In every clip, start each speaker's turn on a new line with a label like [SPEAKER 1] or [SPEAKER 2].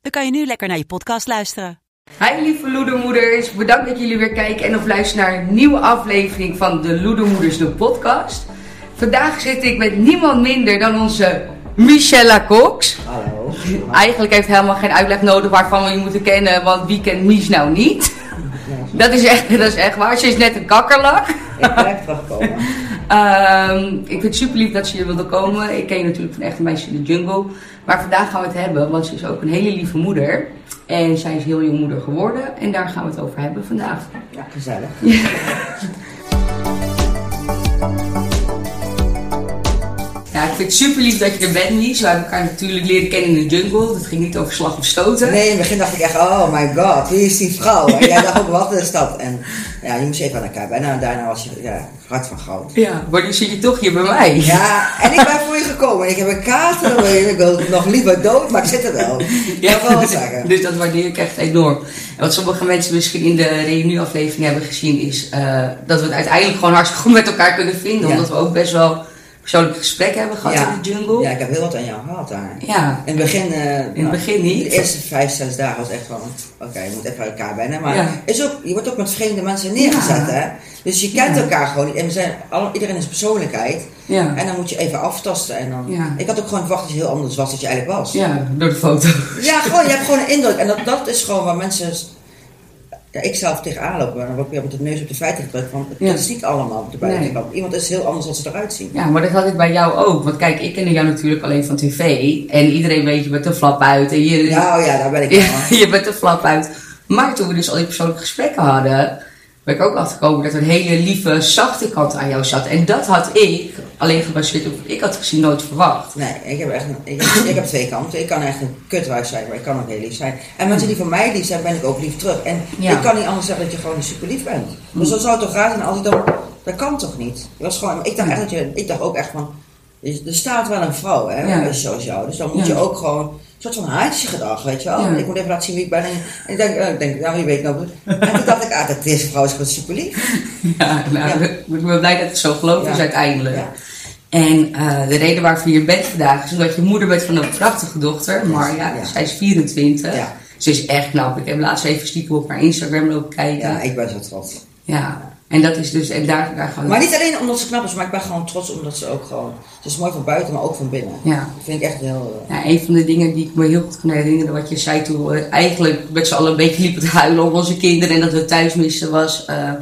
[SPEAKER 1] dan kan je nu lekker naar je podcast luisteren.
[SPEAKER 2] Hi lieve Loedermoeders, bedankt dat jullie weer kijken en of luisteren naar een nieuwe aflevering van de Loedermoeders, de podcast. Vandaag zit ik met niemand minder dan onze Michella Cox.
[SPEAKER 3] Hallo.
[SPEAKER 2] Eigenlijk heeft helemaal geen uitleg nodig waarvan we je moeten kennen, want wie kent Mies nou niet? Dat is echt, dat is echt waar, ze is net een kakkerlak.
[SPEAKER 3] Ik ben echt teruggekomen.
[SPEAKER 2] Ehm, ik vind het super lief dat ze hier wilde komen. Ik ken je natuurlijk van Echte Meisjes in de Jungle. Maar vandaag gaan we het hebben, want ze is ook een hele lieve moeder. En zij is heel jong moeder geworden. En daar gaan we het over hebben vandaag.
[SPEAKER 3] Ja, gezellig.
[SPEAKER 2] Ja, ik vind het super lief dat je er bent, Nies. We hebben elkaar natuurlijk leren kennen in de jungle. Dat ging niet over slag of stoten.
[SPEAKER 3] Nee, in het begin dacht ik echt, oh my god, wie is die vrouw? En jij dacht ook, wat is dat? En ja, je moest even aan elkaar kijken. En nou, daarna was je ja, hart van goud.
[SPEAKER 2] Ja, maar nu zit je toch hier bij mij.
[SPEAKER 3] Ja, en ik ben voor je gekomen. Ik heb een kater, ik wil nog liever dood, maar ik zit er wel.
[SPEAKER 2] Ja,
[SPEAKER 3] Dat wil wel zeggen.
[SPEAKER 2] dus dat waardeer ik echt enorm. En wat sommige mensen misschien in de reunieaflevering hebben gezien, is eh, dat we het uiteindelijk gewoon hartstikke goed met elkaar kunnen vinden.
[SPEAKER 3] Ja.
[SPEAKER 2] Omdat we ook best wel persoonlijke gesprekken hebben gehad in de jungle.
[SPEAKER 3] Ja,
[SPEAKER 2] Ja,
[SPEAKER 3] ik heb heel wat aan jou gehad daar.
[SPEAKER 2] ja.
[SPEAKER 3] In het begin, eh,
[SPEAKER 2] In het begin niet.
[SPEAKER 3] De eerste vijf, zes dagen was echt van, oké, je moet even uit elkaar wennen. Maar
[SPEAKER 2] Ja.
[SPEAKER 3] is ook, je wordt ook met vreemde mensen neergezet,
[SPEAKER 2] Ja.
[SPEAKER 3] hè? Dus je kent
[SPEAKER 2] Ja.
[SPEAKER 3] elkaar gewoon niet. En we zijn, al, iedereen is persoonlijkheid.
[SPEAKER 2] Ja.
[SPEAKER 3] En dan moet je even aftasten. En dan,
[SPEAKER 2] Ja.
[SPEAKER 3] Ik had ook gewoon verwacht dat je heel anders was dan je eigenlijk was.
[SPEAKER 2] door de foto.
[SPEAKER 3] Ja, gewoon, je hebt gewoon een indruk. En dat, dat is gewoon waar mensen... Ja, ik zelf tegenaan lopen. En dan word ik weer met de neus op de feiten gedrukt. Want
[SPEAKER 2] Ja.
[SPEAKER 3] dat is niet allemaal op de buitenkant. Iemand is heel anders dan ze eruit zien.
[SPEAKER 2] Ja, maar dat had ik bij jou ook. Want kijk, ik kende jou natuurlijk alleen van tv. En iedereen weet, je bent een flap uit. En je,
[SPEAKER 3] Nou ja, daar ben ik
[SPEAKER 2] Ja,
[SPEAKER 3] van.
[SPEAKER 2] je bent een flap uit. Maar toen we dus al die persoonlijke gesprekken hadden, ben ik ook achterkomen dat er een hele lieve, zachte kant aan jou zat. En dat had ik, alleen gebaseerd op wat ik had gezien, nooit verwacht.
[SPEAKER 3] Nee, ik heb echt een- ik, heb- ik heb twee kanten. Ik kan echt een kutwijf zijn, maar ik kan ook heel lief zijn. En mensen die van mij lief zijn, ben ik ook lief terug. En
[SPEAKER 2] Ja.
[SPEAKER 3] ik kan niet anders zeggen dat je gewoon super lief bent. Dus dat zou toch raar zijn als ik dan... Dat kan toch niet? Dat was gewoon, ik, dacht echt dat je, ik dacht ook echt van... "Dus, Er er staat wel een vrouw, hè,
[SPEAKER 2] Ja.
[SPEAKER 3] zoals jou. Dus dan moet
[SPEAKER 2] Ja.
[SPEAKER 3] je ook gewoon... Een soort van haartje gedrag, weet je wel.
[SPEAKER 2] Ja.
[SPEAKER 3] Ik moet even laten zien wie ik ben. En ik denk, eh, ik denk nou, je weet nog. En toen dacht ik, ah, dat deze vrouw is gewoon super lief.
[SPEAKER 2] Ja, nou,
[SPEAKER 3] Ja.
[SPEAKER 2] ik ben wel blij dat het zo geloofd
[SPEAKER 3] Ja.
[SPEAKER 2] is uiteindelijk.
[SPEAKER 3] Ja.
[SPEAKER 2] En eh, de reden waarvoor je hier bent vandaag is omdat je moeder bent van een prachtige dochter, Marja.
[SPEAKER 3] ja.
[SPEAKER 2] Zij is 24.
[SPEAKER 3] Ja.
[SPEAKER 2] Ze is echt knap. Ik heb laatst even stiekem op haar Instagram lopen kijken.
[SPEAKER 3] Ja,
[SPEAKER 2] Ja.
[SPEAKER 3] ik ben zo trots.
[SPEAKER 2] En dat is dus, en daar, daar gaan we
[SPEAKER 3] Maar niet alleen omdat ze knap is, maar ik ben gewoon trots omdat ze ook gewoon. Ze is mooi van buiten, maar ook van binnen.
[SPEAKER 2] Ja.
[SPEAKER 3] Dat vind ik echt heel. eh,
[SPEAKER 2] Ja, een van de dingen die ik me heel goed kan herinneren, wat je zei toen we eigenlijk met z'n allen een beetje liepen te huilen om onze kinderen en dat we thuis missen, was eh,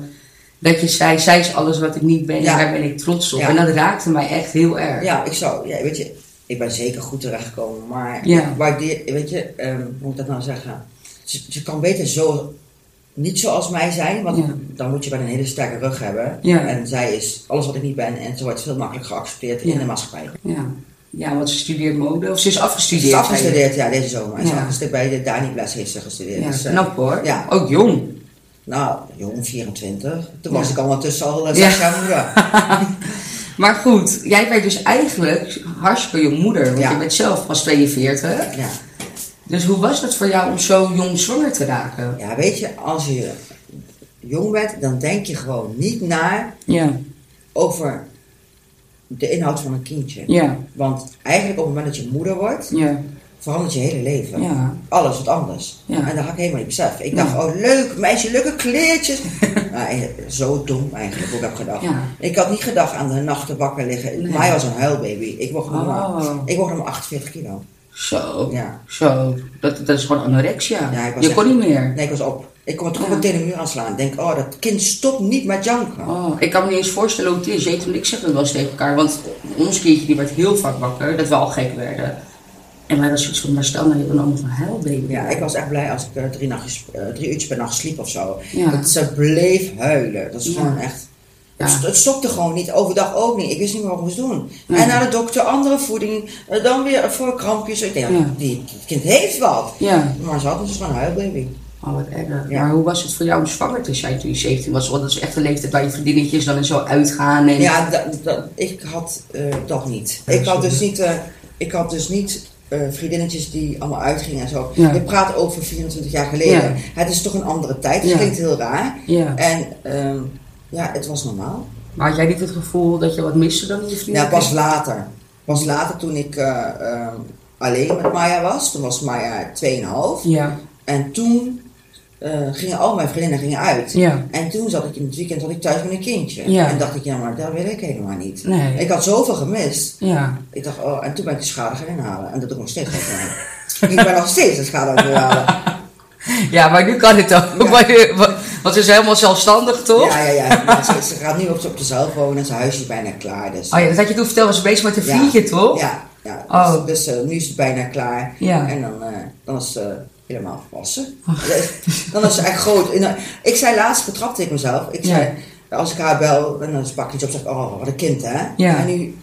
[SPEAKER 2] dat je zei: zij is alles wat ik niet ben
[SPEAKER 3] Ja.
[SPEAKER 2] en daar ben ik trots op.
[SPEAKER 3] Ja.
[SPEAKER 2] En dat raakte mij echt heel erg.
[SPEAKER 3] eh, Ja, ik zou. Ja, weet je, ik ben zeker goed terechtgekomen, maar.
[SPEAKER 2] Ja.
[SPEAKER 3] Waardeer, weet je, ehm, hoe moet ik dat nou zeggen? Ze, ze kan beter zo. Niet zoals mij zijn, want
[SPEAKER 2] Ja.
[SPEAKER 3] dan moet je wel een hele sterke rug hebben.
[SPEAKER 2] Ja.
[SPEAKER 3] En zij is alles wat ik niet ben en ze wordt veel makkelijker geaccepteerd
[SPEAKER 2] Ja.
[SPEAKER 3] in de maatschappij.
[SPEAKER 2] Ja. Ja, want ze studeert mode, of ze is
[SPEAKER 3] Ze
[SPEAKER 2] afgestudeerd.
[SPEAKER 3] is
[SPEAKER 2] zei je.
[SPEAKER 3] afgestudeerd, ja, deze zomer. En ze
[SPEAKER 2] Ja.
[SPEAKER 3] is afgestudeerd bij de Dani Bles heeft ze gestudeerd.
[SPEAKER 2] Ja,
[SPEAKER 3] Dus, eh,
[SPEAKER 2] knap hoor.
[SPEAKER 3] Ja,
[SPEAKER 2] Ook jong.
[SPEAKER 3] nou, jong, 24. Toen
[SPEAKER 2] Ja.
[SPEAKER 3] was ik ondertussen al eh,
[SPEAKER 2] Ja.
[SPEAKER 3] zes jaar moeder.
[SPEAKER 2] Maar goed, jij bent dus eigenlijk hartstikke je moeder, want
[SPEAKER 3] Ja.
[SPEAKER 2] je bent zelf pas 42.
[SPEAKER 3] Ja.
[SPEAKER 2] Dus hoe was dat voor jou om zo jong zwanger te raken?
[SPEAKER 3] ja, weet je, als je jong bent, dan denk je gewoon niet na
[SPEAKER 2] Ja,
[SPEAKER 3] over de inhoud van een kindje.
[SPEAKER 2] ja,
[SPEAKER 3] Want eigenlijk op het moment dat je moeder wordt,
[SPEAKER 2] ja.
[SPEAKER 3] verandert je hele leven.
[SPEAKER 2] Ja.
[SPEAKER 3] Alles wordt anders.
[SPEAKER 2] Ja.
[SPEAKER 3] En dat had ik helemaal niet beseft. Ik
[SPEAKER 2] Ja.
[SPEAKER 3] dacht, oh leuk, meisje, leuke kleertjes. nou, zo dom eigenlijk, ook heb gedacht.
[SPEAKER 2] Ja.
[SPEAKER 3] Ik had niet gedacht aan de nachten wakker liggen.
[SPEAKER 2] Nee.
[SPEAKER 3] Mij was een huilbaby. Ik woog nog maar-
[SPEAKER 2] Oh.
[SPEAKER 3] ik woog nog maar 48 kilo.
[SPEAKER 2] Zo,
[SPEAKER 3] Ja.
[SPEAKER 2] zo. Dat, dat is gewoon anorexia.
[SPEAKER 3] Ja, ik was
[SPEAKER 2] je
[SPEAKER 3] echt-
[SPEAKER 2] kon niet meer.
[SPEAKER 3] Nee, ik was op. Ik kon het
[SPEAKER 2] Ja.
[SPEAKER 3] gewoon tegen de muur aanslaan. Ik denk, oh, dat kind stopt niet met janken.
[SPEAKER 2] Oh, ik kan me niet eens voorstellen hoe het is. Jeet en ik zeggen het wel eens tegen elkaar. Want ons kindje die werd heel vaak wakker, dat we al gek werden. En wij was zoiets van, maar stel nou, je bent allemaal van huilbaby.
[SPEAKER 3] Ja, ik was echt blij als ik eh, drie, nachtjes, eh, drie uurtjes per nacht sliep of zo.
[SPEAKER 2] Ja.
[SPEAKER 3] Dat ze bleef huilen. Dat is
[SPEAKER 2] Ja.
[SPEAKER 3] gewoon echt. Het st- Het stopte gewoon niet, overdag ook niet. Ik wist niet meer wat ik moest doen.
[SPEAKER 2] Nee.
[SPEAKER 3] En naar de dokter, andere voeding, eh, dan weer voor krampjes. Ik denk, ja,
[SPEAKER 2] Ja.
[SPEAKER 3] die, het kind heeft wat.
[SPEAKER 2] Ja.
[SPEAKER 3] Maar ze had dus gewoon een huilbaby.
[SPEAKER 2] Oh, wat erg.
[SPEAKER 3] Ja.
[SPEAKER 2] Maar hoe was het voor jou om zwanger te zijn toen je 17 was? Want dat is echt een leeftijd waar je vriendinnetjes dan en zo uitgaan. En...
[SPEAKER 3] Ja, dat, dat, ik had eh, dat niet. Ik had dus niet, eh, ik had dus niet eh, vriendinnetjes die allemaal uitgingen en zo.
[SPEAKER 2] Ja.
[SPEAKER 3] Je praat over 24 jaar geleden.
[SPEAKER 2] Ja.
[SPEAKER 3] Het is toch een andere tijd. Het
[SPEAKER 2] Ja.
[SPEAKER 3] klinkt heel raar.
[SPEAKER 2] Ja.
[SPEAKER 3] En ehm, ja, het was normaal.
[SPEAKER 2] Maar had jij niet het gevoel dat je wat miste dan in je vrienden?
[SPEAKER 3] Ja, pas later. Pas later toen ik eh, eh, alleen met Maya was. Toen was Maya 2,5.
[SPEAKER 2] Ja.
[SPEAKER 3] En toen eh, gingen al mijn vriendinnen gingen uit.
[SPEAKER 2] Ja.
[SPEAKER 3] En toen zat ik in het weekend had ik thuis met een kindje.
[SPEAKER 2] Ja.
[SPEAKER 3] En dacht ik, ja, maar dat wil ik helemaal niet.
[SPEAKER 2] Nee.
[SPEAKER 3] Ik had zoveel gemist.
[SPEAKER 2] Ja.
[SPEAKER 3] Ik dacht, oh, en toen ben ik de schade gaan inhalen. En dat doe ik nog steeds. niet aan. ik ben nog steeds de schade aan het inhalen.
[SPEAKER 2] Ja, maar nu kan het ook.
[SPEAKER 3] Ja.
[SPEAKER 2] Maar nu- wa- Want ze is helemaal zelfstandig, toch?
[SPEAKER 3] Ja, ja, ja. Maar ze, ze gaat nu op, op zichzelf wonen en zijn huis is bijna klaar. Dus,
[SPEAKER 2] Oh ja, dat had je toen verteld, was ze bezig met een vriendje, toch?
[SPEAKER 3] Ja, ja.
[SPEAKER 2] Oh.
[SPEAKER 3] Dus, dus, eh, nu is het bijna klaar.
[SPEAKER 2] Ja.
[SPEAKER 3] En dan, eh, dan is ze helemaal wassen. Dan is ze echt groot. En dan- ik zei laatst, betrapte ik mezelf. Ik zei, als ik haar bel, en dan pak ik iets op, zeg ik, oh, wat een kind, hè.
[SPEAKER 2] Ja.
[SPEAKER 3] En nu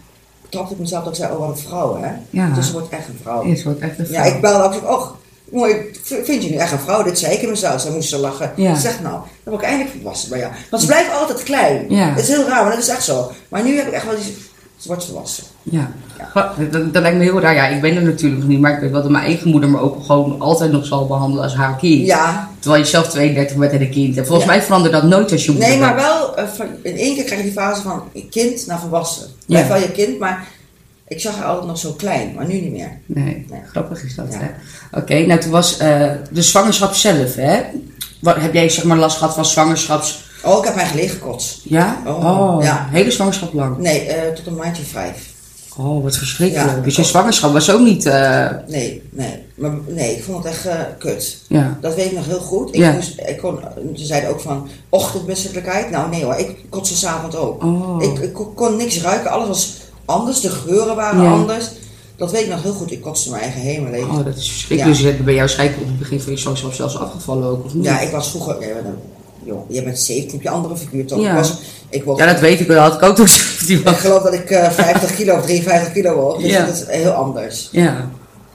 [SPEAKER 3] trapte ik mezelf dat ik zei, oh, wat een vrouw, hè.
[SPEAKER 2] Ja.
[SPEAKER 3] Dus ze wordt echt een vrouw.
[SPEAKER 2] Is wordt echt een
[SPEAKER 3] Ja,
[SPEAKER 2] vrouw.
[SPEAKER 3] ik belde ook. Ik zeg, och, mooi, v- vind je nu echt een vrouw? Dit zei ik in mezelf. Ze moest ze lachen.
[SPEAKER 2] Ja.
[SPEAKER 3] Ik Zeg nou, dan word ik eindelijk volwassen bij jou. Want ze blijft altijd klein.
[SPEAKER 2] Ja.
[SPEAKER 3] Dat is heel raar, maar dat is echt zo. Maar nu heb ik echt wel iets... Ze wordt volwassen.
[SPEAKER 2] Ja. Goh, Dat, dat lijkt me heel raar. Ja, ik ben er natuurlijk nog niet, maar ik weet wel dat mijn eigen moeder me ook gewoon altijd nog zal behandelen als haar kind.
[SPEAKER 3] Ja.
[SPEAKER 2] Terwijl je zelf 32 bent en een kind. En volgens
[SPEAKER 3] Ja.
[SPEAKER 2] mij verandert dat nooit als je moeder
[SPEAKER 3] Nee, maar
[SPEAKER 2] bent.
[SPEAKER 3] wel... eh, van- in één keer krijg je die fase van kind naar volwassen.
[SPEAKER 2] Ja.
[SPEAKER 3] Blijf wel je kind, maar... Ik zag haar altijd nog zo klein, maar nu niet meer.
[SPEAKER 2] Nee,
[SPEAKER 3] Nee.
[SPEAKER 2] grappig is dat,
[SPEAKER 3] Ja.
[SPEAKER 2] hè? Oké, nou toen was eh, de zwangerschap zelf, hè? Wat, heb jij zeg maar last gehad van zwangerschaps...
[SPEAKER 3] Oh, ik heb mijn gelegen kots.
[SPEAKER 2] Ja?
[SPEAKER 3] Oh, ja.
[SPEAKER 2] Hele zwangerschap lang.
[SPEAKER 3] Nee, eh, tot een maandje of vijf.
[SPEAKER 2] Oh, wat verschrikkelijk.
[SPEAKER 3] Ja.
[SPEAKER 2] dus je zwangerschap was ook niet... eh,
[SPEAKER 3] Nee, nee. Maar nee, ik vond het echt eh, kut.
[SPEAKER 2] ja.
[SPEAKER 3] Dat weet ik nog heel goed. Ik
[SPEAKER 2] Ja.
[SPEAKER 3] moest, ik kon, ze zeiden ook van ochtendmisselijkheid. Nou nee hoor, ik kotste s'avonds ook.
[SPEAKER 2] Oh.
[SPEAKER 3] Ik, ik kon- kon niks ruiken, alles was anders, de geuren waren
[SPEAKER 2] Ja.
[SPEAKER 3] anders. Dat weet ik nog heel goed, ik kotste mijn eigen hemel leeg.
[SPEAKER 2] Oh, dat is verschrikkelijk.
[SPEAKER 3] Ja.
[SPEAKER 2] Dus bij jou schijnt op het begin van je zwangerschap zelfs afgevallen ook, of niet?
[SPEAKER 3] Ja, ik was vroeger, jij bent, een- joh, jij bent 17, heb je andere figuur toch?
[SPEAKER 2] Ja.
[SPEAKER 3] Ik, was, ik, woog-
[SPEAKER 2] Ja, dat weet ik wel. Had ik ook toen 17
[SPEAKER 3] ik
[SPEAKER 2] was.
[SPEAKER 3] geloof dat ik eh, 50 kilo of 53 kilo woog, dus
[SPEAKER 2] Ja.
[SPEAKER 3] dat is heel anders.
[SPEAKER 2] Ja.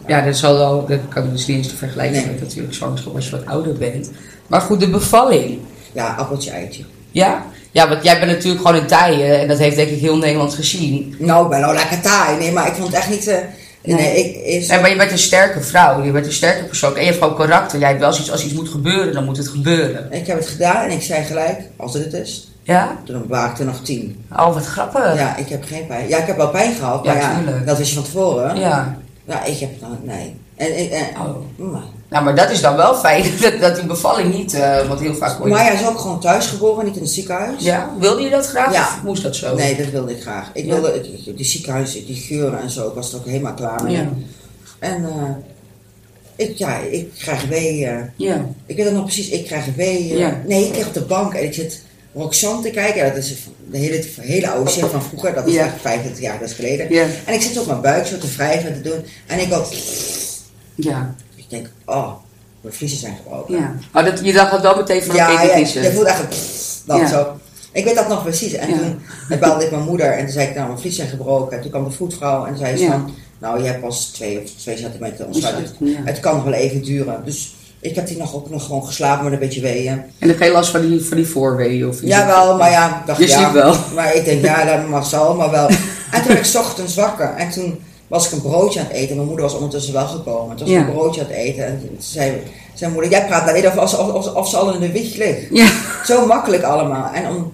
[SPEAKER 2] Ja, dat, zal wel, dat kan ik dus niet eens te vergelijken
[SPEAKER 3] Nee.
[SPEAKER 2] met natuurlijk zwangerschap als je wat ouder bent. Maar goed, de bevalling.
[SPEAKER 3] Ja, appeltje eitje.
[SPEAKER 2] Ja? Ja, want jij bent natuurlijk gewoon een taai hè, en dat heeft denk ik heel Nederland gezien.
[SPEAKER 3] Nou, ik ben nou lekker taai, nee, maar ik vond het echt niet... eh, nee.
[SPEAKER 2] Nee.
[SPEAKER 3] ik, is,
[SPEAKER 2] Nee, maar je bent een sterke vrouw, je bent een sterke persoon en je hebt gewoon karakter. Jij hebt wel zoiets, als iets moet gebeuren, dan moet het gebeuren.
[SPEAKER 3] ik heb het gedaan en ik zei gelijk, als het het is,
[SPEAKER 2] Ja?
[SPEAKER 3] Toen waren ik er nog tien.
[SPEAKER 2] Oh, wat grappig.
[SPEAKER 3] Ja, ik heb geen pijn. Ja, ik heb wel pijn gehad,
[SPEAKER 2] Ja,
[SPEAKER 3] maar ja,
[SPEAKER 2] tuurlijk.
[SPEAKER 3] dat wist je van tevoren.
[SPEAKER 2] Ja.
[SPEAKER 3] Ja, ik heb dan, nee. En, en, en-
[SPEAKER 2] Oh.
[SPEAKER 3] maar.
[SPEAKER 2] Nou, maar dat is dan wel fijn, dat, dat die bevalling niet, eh want heel vaak hoor je...
[SPEAKER 3] Maar ja, is ook gewoon thuis geboren, niet in het ziekenhuis.
[SPEAKER 2] Ja? Wilde je dat graag
[SPEAKER 3] Ja.
[SPEAKER 2] of moest dat zo?
[SPEAKER 3] Nee, dat wilde ik graag. Ik
[SPEAKER 2] Ja.
[SPEAKER 3] wilde, ik- ik- die ziekenhuis, die geuren en zo, ik was er ook helemaal klaar mee.
[SPEAKER 2] Ja.
[SPEAKER 3] En eh, ik, ja, ik krijg eh, weeën.
[SPEAKER 2] Ja.
[SPEAKER 3] Ik weet het nog precies, ik krijg weeën.
[SPEAKER 2] Ja.
[SPEAKER 3] Nee, ik lig op de bank en ik zit Roxanne te kijken. Dat is de hele, hele oude serie van vroeger. Dat is
[SPEAKER 2] Ja.
[SPEAKER 3] echt 25 jaar dus geleden.
[SPEAKER 2] Ja.
[SPEAKER 3] En ik zit op mijn buik zo te wrijven en te doen. En ik had...
[SPEAKER 2] Ja.
[SPEAKER 3] Ik denk, oh, mijn vliezen zijn gebroken.
[SPEAKER 2] Ja. Maar dat, je dacht wel meteen van, oké, dit is het.
[SPEAKER 3] je voelt echt een dat
[SPEAKER 2] Ja.
[SPEAKER 3] zo. Ik weet dat nog precies. En
[SPEAKER 2] Ja.
[SPEAKER 3] toen belde ik mijn moeder en toen zei ik, nou, mijn vliezen zijn gebroken. En toen kwam de voetvrouw en zei ze
[SPEAKER 2] Ja.
[SPEAKER 3] van, nou, je hebt pas twee of twee centimeter ontsluiting.
[SPEAKER 2] Ja.
[SPEAKER 3] Het kan nog wel even duren. Dus ik heb die nog ook nog gewoon geslapen met een beetje weeën.
[SPEAKER 2] En dan geen last van die, van die voorweeën of iets.
[SPEAKER 3] Jawel, maar ja, ik dacht
[SPEAKER 2] Je
[SPEAKER 3] ja.
[SPEAKER 2] sliep wel.
[SPEAKER 3] Maar ik denk, ja, dat mag zal, maar wel. En toen werd ik 's ochtends wakker en toen was ik een broodje aan het eten. Mijn moeder was ondertussen wel gekomen. Toen was ik
[SPEAKER 2] Ja.
[SPEAKER 3] een broodje aan het eten en toen zei, zei moeder, jij praat alleen of, als- of, of, of ze al in de wieg ligt.
[SPEAKER 2] Ja.
[SPEAKER 3] Zo makkelijk allemaal. En om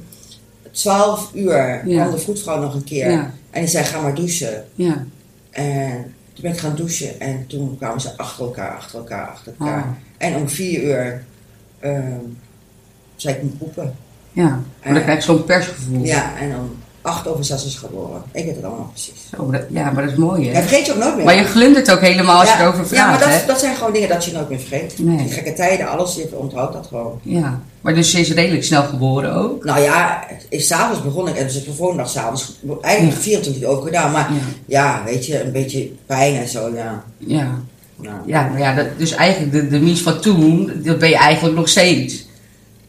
[SPEAKER 3] 12 uur
[SPEAKER 2] Ja.
[SPEAKER 3] kwam de voetvrouw nog een keer.
[SPEAKER 2] Ja.
[SPEAKER 3] En die zei, ga maar douchen.
[SPEAKER 2] Ja.
[SPEAKER 3] En toen ben ik gaan douchen en toen kwamen ze achter elkaar, achter elkaar, achter elkaar.
[SPEAKER 2] Ah.
[SPEAKER 3] En om 4 uur ehm, zei ik moet poepen.
[SPEAKER 2] Ja. Maar dan krijg je zo'n persgevoel.
[SPEAKER 3] Ja, en om acht over zes is geboren. Ik weet het allemaal nog precies.
[SPEAKER 2] Zo, Oh, dat- ja, maar dat is mooi,
[SPEAKER 3] Dat
[SPEAKER 2] hè?
[SPEAKER 3] vergeet je ook nooit meer.
[SPEAKER 2] Maar je glundert ook helemaal als je erover
[SPEAKER 3] Ja, maar
[SPEAKER 2] praat,
[SPEAKER 3] dat,
[SPEAKER 2] hè?
[SPEAKER 3] dat zijn gewoon dingen dat je nooit meer vergeet.
[SPEAKER 2] Nee.
[SPEAKER 3] Die gekke tijden, alles, je onthoudt dat gewoon.
[SPEAKER 2] Ja. Maar dus ze is redelijk snel geboren ook.
[SPEAKER 3] Nou ja, ik- s'avonds begon ik, en dus ik heb de volgende dag s'avonds, eigenlijk 24 uur over gedaan. Maar
[SPEAKER 2] Ja.
[SPEAKER 3] ja. weet je, een beetje pijn en zo, ja.
[SPEAKER 2] Ja.
[SPEAKER 3] Nou,
[SPEAKER 2] Ja, maar ja, dat, dus eigenlijk de, de Mies van toen, dat ben je eigenlijk nog steeds.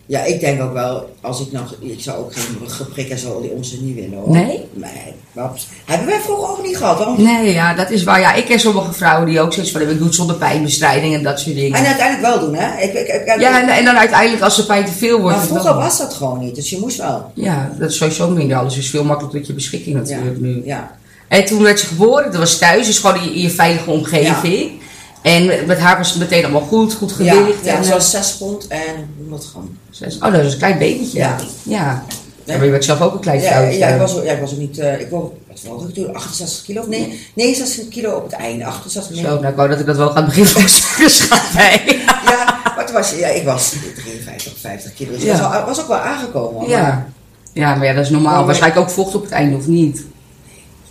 [SPEAKER 3] Ja, ik denk ook wel, als ik nog, ik zou ook geen geprik en zo, al die onzin niet willen hoor.
[SPEAKER 2] Nee?
[SPEAKER 3] Nee, maar hebben wij vroeger ook niet gehad. Waarom?
[SPEAKER 2] Nee, ja, dat is waar. Ja, ik ken sommige vrouwen die ook zoiets van hebben, ik doe het zonder pijnbestrijding en dat soort dingen.
[SPEAKER 3] En uiteindelijk wel doen, hè? Ik, ik, ik, ik-
[SPEAKER 2] Ja, en, en dan uiteindelijk als de pijn te veel wordt.
[SPEAKER 3] maar
[SPEAKER 2] dan-
[SPEAKER 3] vroeger was dat gewoon niet, dus je moest wel.
[SPEAKER 2] Ja, dat is sowieso minder. Alles is veel makkelijker tot je beschikking
[SPEAKER 3] Ja,
[SPEAKER 2] natuurlijk nu.
[SPEAKER 3] ja.
[SPEAKER 2] En toen werd ze geboren, dat was thuis, dus gewoon in je- in je veilige omgeving. En met haar was het meteen allemaal goed, goed
[SPEAKER 3] Ja,
[SPEAKER 2] gewicht.
[SPEAKER 3] ja,
[SPEAKER 2] en,
[SPEAKER 3] ze was 6 pond en 100 gram.
[SPEAKER 2] eh, zes- oh, dat is een klein babytje.
[SPEAKER 3] Ja.
[SPEAKER 2] Ja. Ja, maar je werd zelf ook een klein
[SPEAKER 3] Ja,
[SPEAKER 2] vrouwtje.
[SPEAKER 3] ja, ik was, ook- ja, ik was ook niet, eh, ik woog, wat woog ik toen? 68 kilo? of Nee, 69 kilo op het einde, 68
[SPEAKER 2] Zo,
[SPEAKER 3] kilo.
[SPEAKER 2] nou, ik wou dat ik dat wel aan het begin van zeggen, schat mij.
[SPEAKER 3] Ja, wat was je? Ja, ik was 53, 50 kilo. Dus ik
[SPEAKER 2] Ja.
[SPEAKER 3] was, al- was ook wel aangekomen. hoor, Maar,
[SPEAKER 2] Ja. ja, maar ja, dat is normaal.
[SPEAKER 3] Maar-
[SPEAKER 2] Waarschijnlijk ook vocht op het einde, of niet?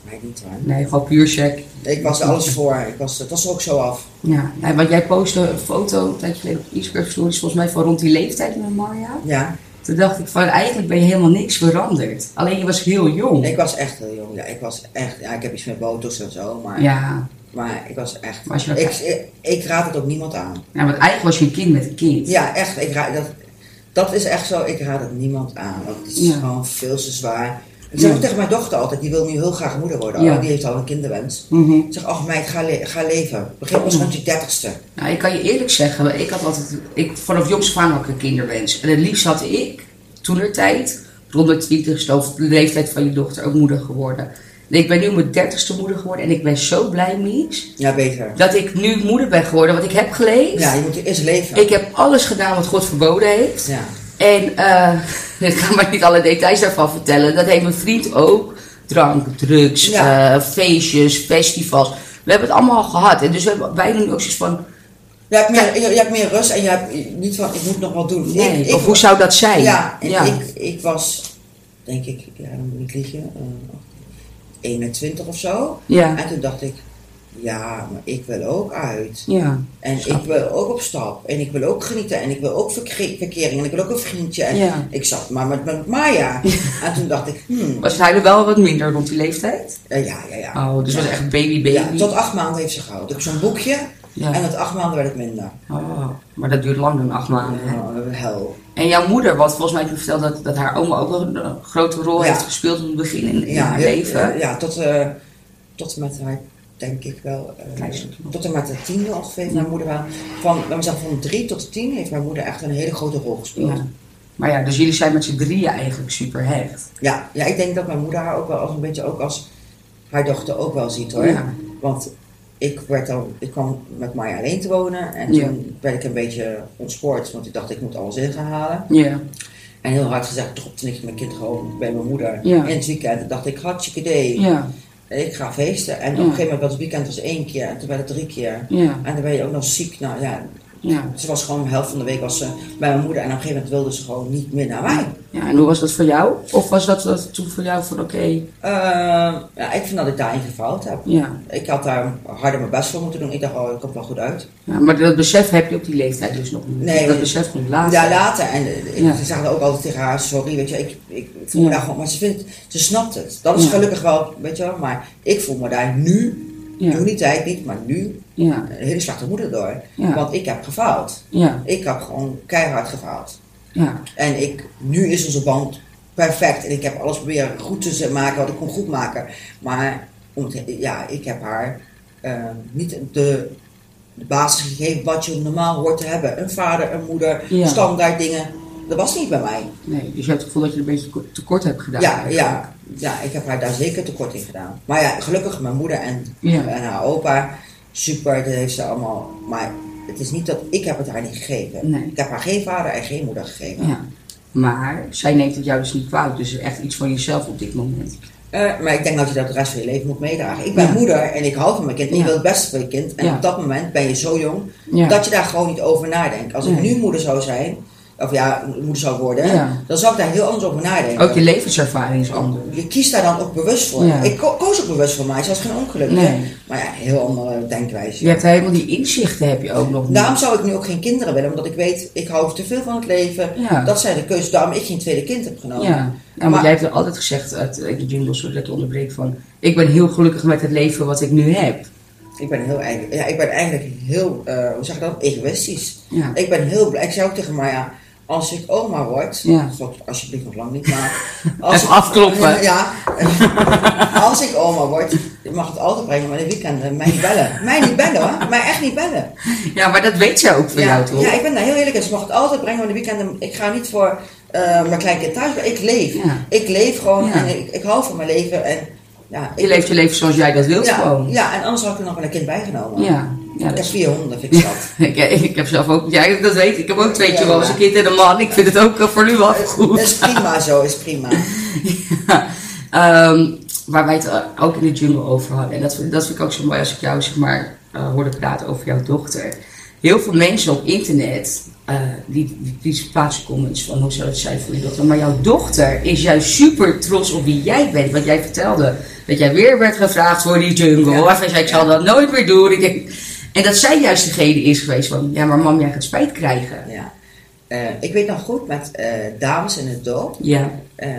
[SPEAKER 3] maar niet waar.
[SPEAKER 2] Nee, gewoon puur check.
[SPEAKER 3] Ik was er alles voor. Ik was, het was ook zo af.
[SPEAKER 2] Ja, en want jij postte een foto een tijdje geleden op Instagram Stories, volgens mij van rond die leeftijd met Marja.
[SPEAKER 3] Ja,
[SPEAKER 2] Toen dacht ik van, eigenlijk ben je helemaal niks veranderd. Alleen je was heel jong.
[SPEAKER 3] ik was echt heel jong. Ja, ik was echt, ja, ik heb iets met botox en zo, maar,
[SPEAKER 2] Ja.
[SPEAKER 3] maar ik was echt.
[SPEAKER 2] Was je ook-
[SPEAKER 3] ik, ik, ik raad het ook niemand aan.
[SPEAKER 2] ja, nou, want eigenlijk was je een kind met een kind.
[SPEAKER 3] Ja, echt. Ik raad, dat, dat is echt zo. Ik raad het niemand aan. Want het is
[SPEAKER 2] Ja.
[SPEAKER 3] gewoon veel te zwaar. Ik zeg
[SPEAKER 2] Ja.
[SPEAKER 3] ook tegen mijn dochter altijd, die wil nu heel graag moeder worden.
[SPEAKER 2] Ja.
[SPEAKER 3] Oh, Die heeft al een kinderwens.
[SPEAKER 2] Mhm.
[SPEAKER 3] Ik zeg, ach meid, ga, le- ga leven. Begin pas rond je dertigste.
[SPEAKER 2] Nou, ik kan je eerlijk zeggen, ik had altijd, ik, vanaf jongs af aan had ik een kinderwens. En het liefst had ik, toen er tijd, rond de twintigste of de leeftijd van je dochter, ook moeder geworden. En ik ben nu mijn dertigste moeder geworden en ik ben zo blij, Mies,
[SPEAKER 3] Ja, beter.
[SPEAKER 2] dat ik nu moeder ben geworden. Want ik heb geleefd,
[SPEAKER 3] Ja, je moet eerst leven.
[SPEAKER 2] ik heb alles gedaan wat God verboden heeft.
[SPEAKER 3] Ja.
[SPEAKER 2] En eh, ik ga maar niet alle details daarvan vertellen. Dat heeft mijn vriend ook. Drank, drugs,
[SPEAKER 3] Ja.
[SPEAKER 2] eh, feestjes, festivals. We hebben het allemaal al gehad. En dus we hebben wij doen ook zoiets van...
[SPEAKER 3] Je hebt, meer, je, je hebt meer rust en je hebt niet van, ik moet nog wat doen.
[SPEAKER 2] Nee,
[SPEAKER 3] ik, ik,
[SPEAKER 2] of hoe zou dat zijn?
[SPEAKER 3] Ja, en
[SPEAKER 2] ja.
[SPEAKER 3] Ik, ik was, denk ik, ja, dan moet ik liegen, eh, 21 of zo.
[SPEAKER 2] Ja.
[SPEAKER 3] En toen dacht ik, ja, maar ik wil ook uit.
[SPEAKER 2] Ja.
[SPEAKER 3] En ik wil ook op stap. En ik wil ook genieten. En ik wil ook verke- verkering. En ik wil ook een vriendje. En
[SPEAKER 2] Ja.
[SPEAKER 3] ik zat maar met, met Maya. en toen dacht ik, hmm,
[SPEAKER 2] Was hij er wel wat minder rond die leeftijd?
[SPEAKER 3] eh, ja, ja, ja.
[SPEAKER 2] Oh, dus was echt baby baby.
[SPEAKER 3] Ja, tot acht maanden heeft ze gehouden. Ik heb zo'n boekje.
[SPEAKER 2] Ja.
[SPEAKER 3] En tot acht maanden werd het minder.
[SPEAKER 2] Oh, maar dat duurt lang dan, acht maanden. hè?
[SPEAKER 3] Oh, hel.
[SPEAKER 2] En jouw moeder, wat volgens mij heb je verteld dat, dat haar oma ook wel een eh, grote rol
[SPEAKER 3] Ja.
[SPEAKER 2] heeft gespeeld in het begin in, in haar
[SPEAKER 3] ja,
[SPEAKER 2] leven.
[SPEAKER 3] Ja, ja, tot, eh, tot en met haar, denk ik wel. eh,
[SPEAKER 2] Klein stukje.
[SPEAKER 3] tot en met de tiende ongeveer, heeft mijn moeder wel. Van, laten we zeggen, van drie tot tien heeft mijn moeder echt een hele grote rol gespeeld.
[SPEAKER 2] Ja. Maar ja, dus jullie zijn met z'n drieën eigenlijk super hecht.
[SPEAKER 3] Ja, ja, ik denk dat mijn moeder haar ook wel als een beetje ook als haar dochter ook wel ziet hoor.
[SPEAKER 2] Ja.
[SPEAKER 3] Want ik, werd dan, ik kwam met Maya alleen te wonen en
[SPEAKER 2] Ja.
[SPEAKER 3] toen werd ik een beetje ontspoord, want ik dacht ik moet alles in gaan halen.
[SPEAKER 2] Ja.
[SPEAKER 3] En heel hard gezegd dropte ik mijn kind gewoon bij mijn moeder
[SPEAKER 2] Ja.
[SPEAKER 3] in het weekend. En dacht ik, hartstikke idee.
[SPEAKER 2] Ja.
[SPEAKER 3] Ik ga feesten. En op
[SPEAKER 2] Ja.
[SPEAKER 3] een gegeven moment was het weekend was één keer en toen werd het drie keer.
[SPEAKER 2] Ja.
[SPEAKER 3] En dan ben je ook nog ziek. Nou ja,
[SPEAKER 2] Ja.
[SPEAKER 3] ze was gewoon de helft van de week was ze bij mijn moeder en op een gegeven moment wilde ze gewoon niet meer naar mij.
[SPEAKER 2] ja. En hoe was dat voor jou? Of was dat, dat toen voor jou van oké,
[SPEAKER 3] Eh, ja, ik vind dat ik daarin gefaald heb.
[SPEAKER 2] ja.
[SPEAKER 3] Ik had daar harder mijn best voor moeten doen. Ik dacht, oh, ik kom wel goed uit.
[SPEAKER 2] ja. Maar dat besef heb je op die leeftijd dus nog niet.
[SPEAKER 3] Nee,
[SPEAKER 2] dat
[SPEAKER 3] want-
[SPEAKER 2] besef komt later.
[SPEAKER 3] Ja, later. En eh, ik
[SPEAKER 2] Ja.
[SPEAKER 3] ze zei ook altijd tegen haar, sorry, weet je, ik, ik voel me
[SPEAKER 2] Ja.
[SPEAKER 3] daar gewoon... Maar ze, vindt, ze snapt het. Dat is
[SPEAKER 2] Ja.
[SPEAKER 3] gelukkig wel, weet je wel. Maar ik voel me daar nu,
[SPEAKER 2] Ja.
[SPEAKER 3] toen die tijd niet, maar nu,
[SPEAKER 2] Ja.
[SPEAKER 3] een hele slechte moeder door.
[SPEAKER 2] Ja.
[SPEAKER 3] Want ik heb gefaald.
[SPEAKER 2] Ja.
[SPEAKER 3] Ik heb gewoon keihard gefaald.
[SPEAKER 2] Ja.
[SPEAKER 3] En ik, nu is onze band perfect. En ik heb alles proberen goed te maken wat ik kon goed maken. Maar om het- ja, ik heb haar eh, niet de, de basis gegeven wat je normaal hoort te hebben. Een vader, een moeder,
[SPEAKER 2] Ja.
[SPEAKER 3] standaard dingen. Dat was niet bij mij.
[SPEAKER 2] Nee, dus je hebt het gevoel dat je een beetje ko- tekort hebt gedaan.
[SPEAKER 3] Ja,
[SPEAKER 2] eigenlijk.
[SPEAKER 3] ja, ja, ik heb haar daar zeker tekort in gedaan. Maar ja, gelukkig mijn moeder en,
[SPEAKER 2] Ja.
[SPEAKER 3] en haar opa, super, dat heeft ze allemaal. Maar het is niet dat ik heb het haar niet gegeven.
[SPEAKER 2] Nee.
[SPEAKER 3] Ik heb haar geen vader en geen moeder gegeven.
[SPEAKER 2] ja. Maar zij neemt het jou dus niet kwalijk. Dus echt iets van jezelf op dit moment.
[SPEAKER 3] Eh, maar ik denk dat je dat de rest van je leven moet meedragen. Ik ben
[SPEAKER 2] Ja.
[SPEAKER 3] moeder en ik hou van mijn kind. En
[SPEAKER 2] Ja.
[SPEAKER 3] Ik wil het beste voor je kind. En
[SPEAKER 2] Ja.
[SPEAKER 3] op dat moment ben je zo jong
[SPEAKER 2] Ja.
[SPEAKER 3] dat je daar gewoon niet over nadenkt. Als ik
[SPEAKER 2] Nee.
[SPEAKER 3] nu moeder zou zijn, of ja, moeder zou worden,
[SPEAKER 2] Ja.
[SPEAKER 3] dan zou ik daar heel anders over nadenken.
[SPEAKER 2] Ook je levenservaring is anders.
[SPEAKER 3] Je kiest daar dan ook bewust voor.
[SPEAKER 2] Ja.
[SPEAKER 3] Ik ko- koos ook bewust voor mij. Ze was geen ongeluk. hè.
[SPEAKER 2] Nee.
[SPEAKER 3] Maar ja, heel andere denkwijze.
[SPEAKER 2] Je hebt helemaal die inzichten heb je ook nog niet.
[SPEAKER 3] Daarom zou ik nu ook geen kinderen willen, omdat ik weet, ik hou te veel van het leven.
[SPEAKER 2] Ja.
[SPEAKER 3] Dat zijn de keuzes daarom ik geen tweede kind heb genomen.
[SPEAKER 2] Ja, nou, maar jij hebt altijd gezegd, uit de jungle, sorry dat ik onderbreek, van ik ben heel gelukkig met het leven wat ik nu heb.
[SPEAKER 3] Ik ben, heel, eigen- ja, ik ben eigenlijk heel, eh, hoe zeg ik dat, egoïstisch.
[SPEAKER 2] Ja.
[SPEAKER 3] Ik ben heel blij. Ik zei ook tegen Maya, als ik oma word,
[SPEAKER 2] Ja.
[SPEAKER 3] god, alsjeblieft nog lang niet, maar... Als
[SPEAKER 4] Even afkloppen.
[SPEAKER 3] Ja, als ik oma word, je mag het altijd brengen, maar de weekenden, mij niet bellen. Mij niet bellen hoor, mij echt niet bellen.
[SPEAKER 2] Ja, maar dat weet ze ook van jou, toch?
[SPEAKER 3] ja, ik ben daar heel eerlijk in. Ze mag het altijd brengen, maar de weekenden, ik ga niet voor eh, mijn kleinkind thuis, maar ik leef.
[SPEAKER 2] Ja.
[SPEAKER 3] Ik leef gewoon
[SPEAKER 2] Ja.
[SPEAKER 3] en ik, ik hou van mijn leven. En, ja, ik,
[SPEAKER 2] Je leeft je leven zoals jij dat wilt
[SPEAKER 3] ja,
[SPEAKER 2] gewoon.
[SPEAKER 3] ja, en anders had ik er nog wel een kind bijgenomen.
[SPEAKER 2] Ja, ja, dat
[SPEAKER 3] Ik heb
[SPEAKER 2] is...
[SPEAKER 3] vier honden, vind ik dat.
[SPEAKER 2] ik, ik heb zelf ook, jij dat weet, ik heb ook twee
[SPEAKER 3] Ja,
[SPEAKER 2] jongens,
[SPEAKER 3] ja.
[SPEAKER 2] een kind en een man. Ik vind het ook eh, voor nu wel
[SPEAKER 3] Dat is
[SPEAKER 2] goed.
[SPEAKER 3] prima zo, is prima.
[SPEAKER 2] Ja. Ehm, waar wij het eh, ook in de jungle over hadden. En dat, vind- dat vind ik ook zo mooi als ik jou zeg maar, eh, hoorde praten over jouw dochter. Heel veel mensen op internet eh, die, die, die plaatsen comments van hoe zou het zijn voor je dochter. Maar jouw dochter is juist super trots op wie jij bent. Wat jij vertelde. Dat jij weer werd gevraagd voor die jungle.
[SPEAKER 3] Ja.
[SPEAKER 2] Waarvan zei ik zal dat nooit meer doen. Ik denk, en dat zij juist degene is geweest van ja maar mam jij gaat spijt krijgen.
[SPEAKER 3] Ja. Eh, ik weet nog goed met eh, dames in het dorp.
[SPEAKER 2] Ja,
[SPEAKER 3] eh,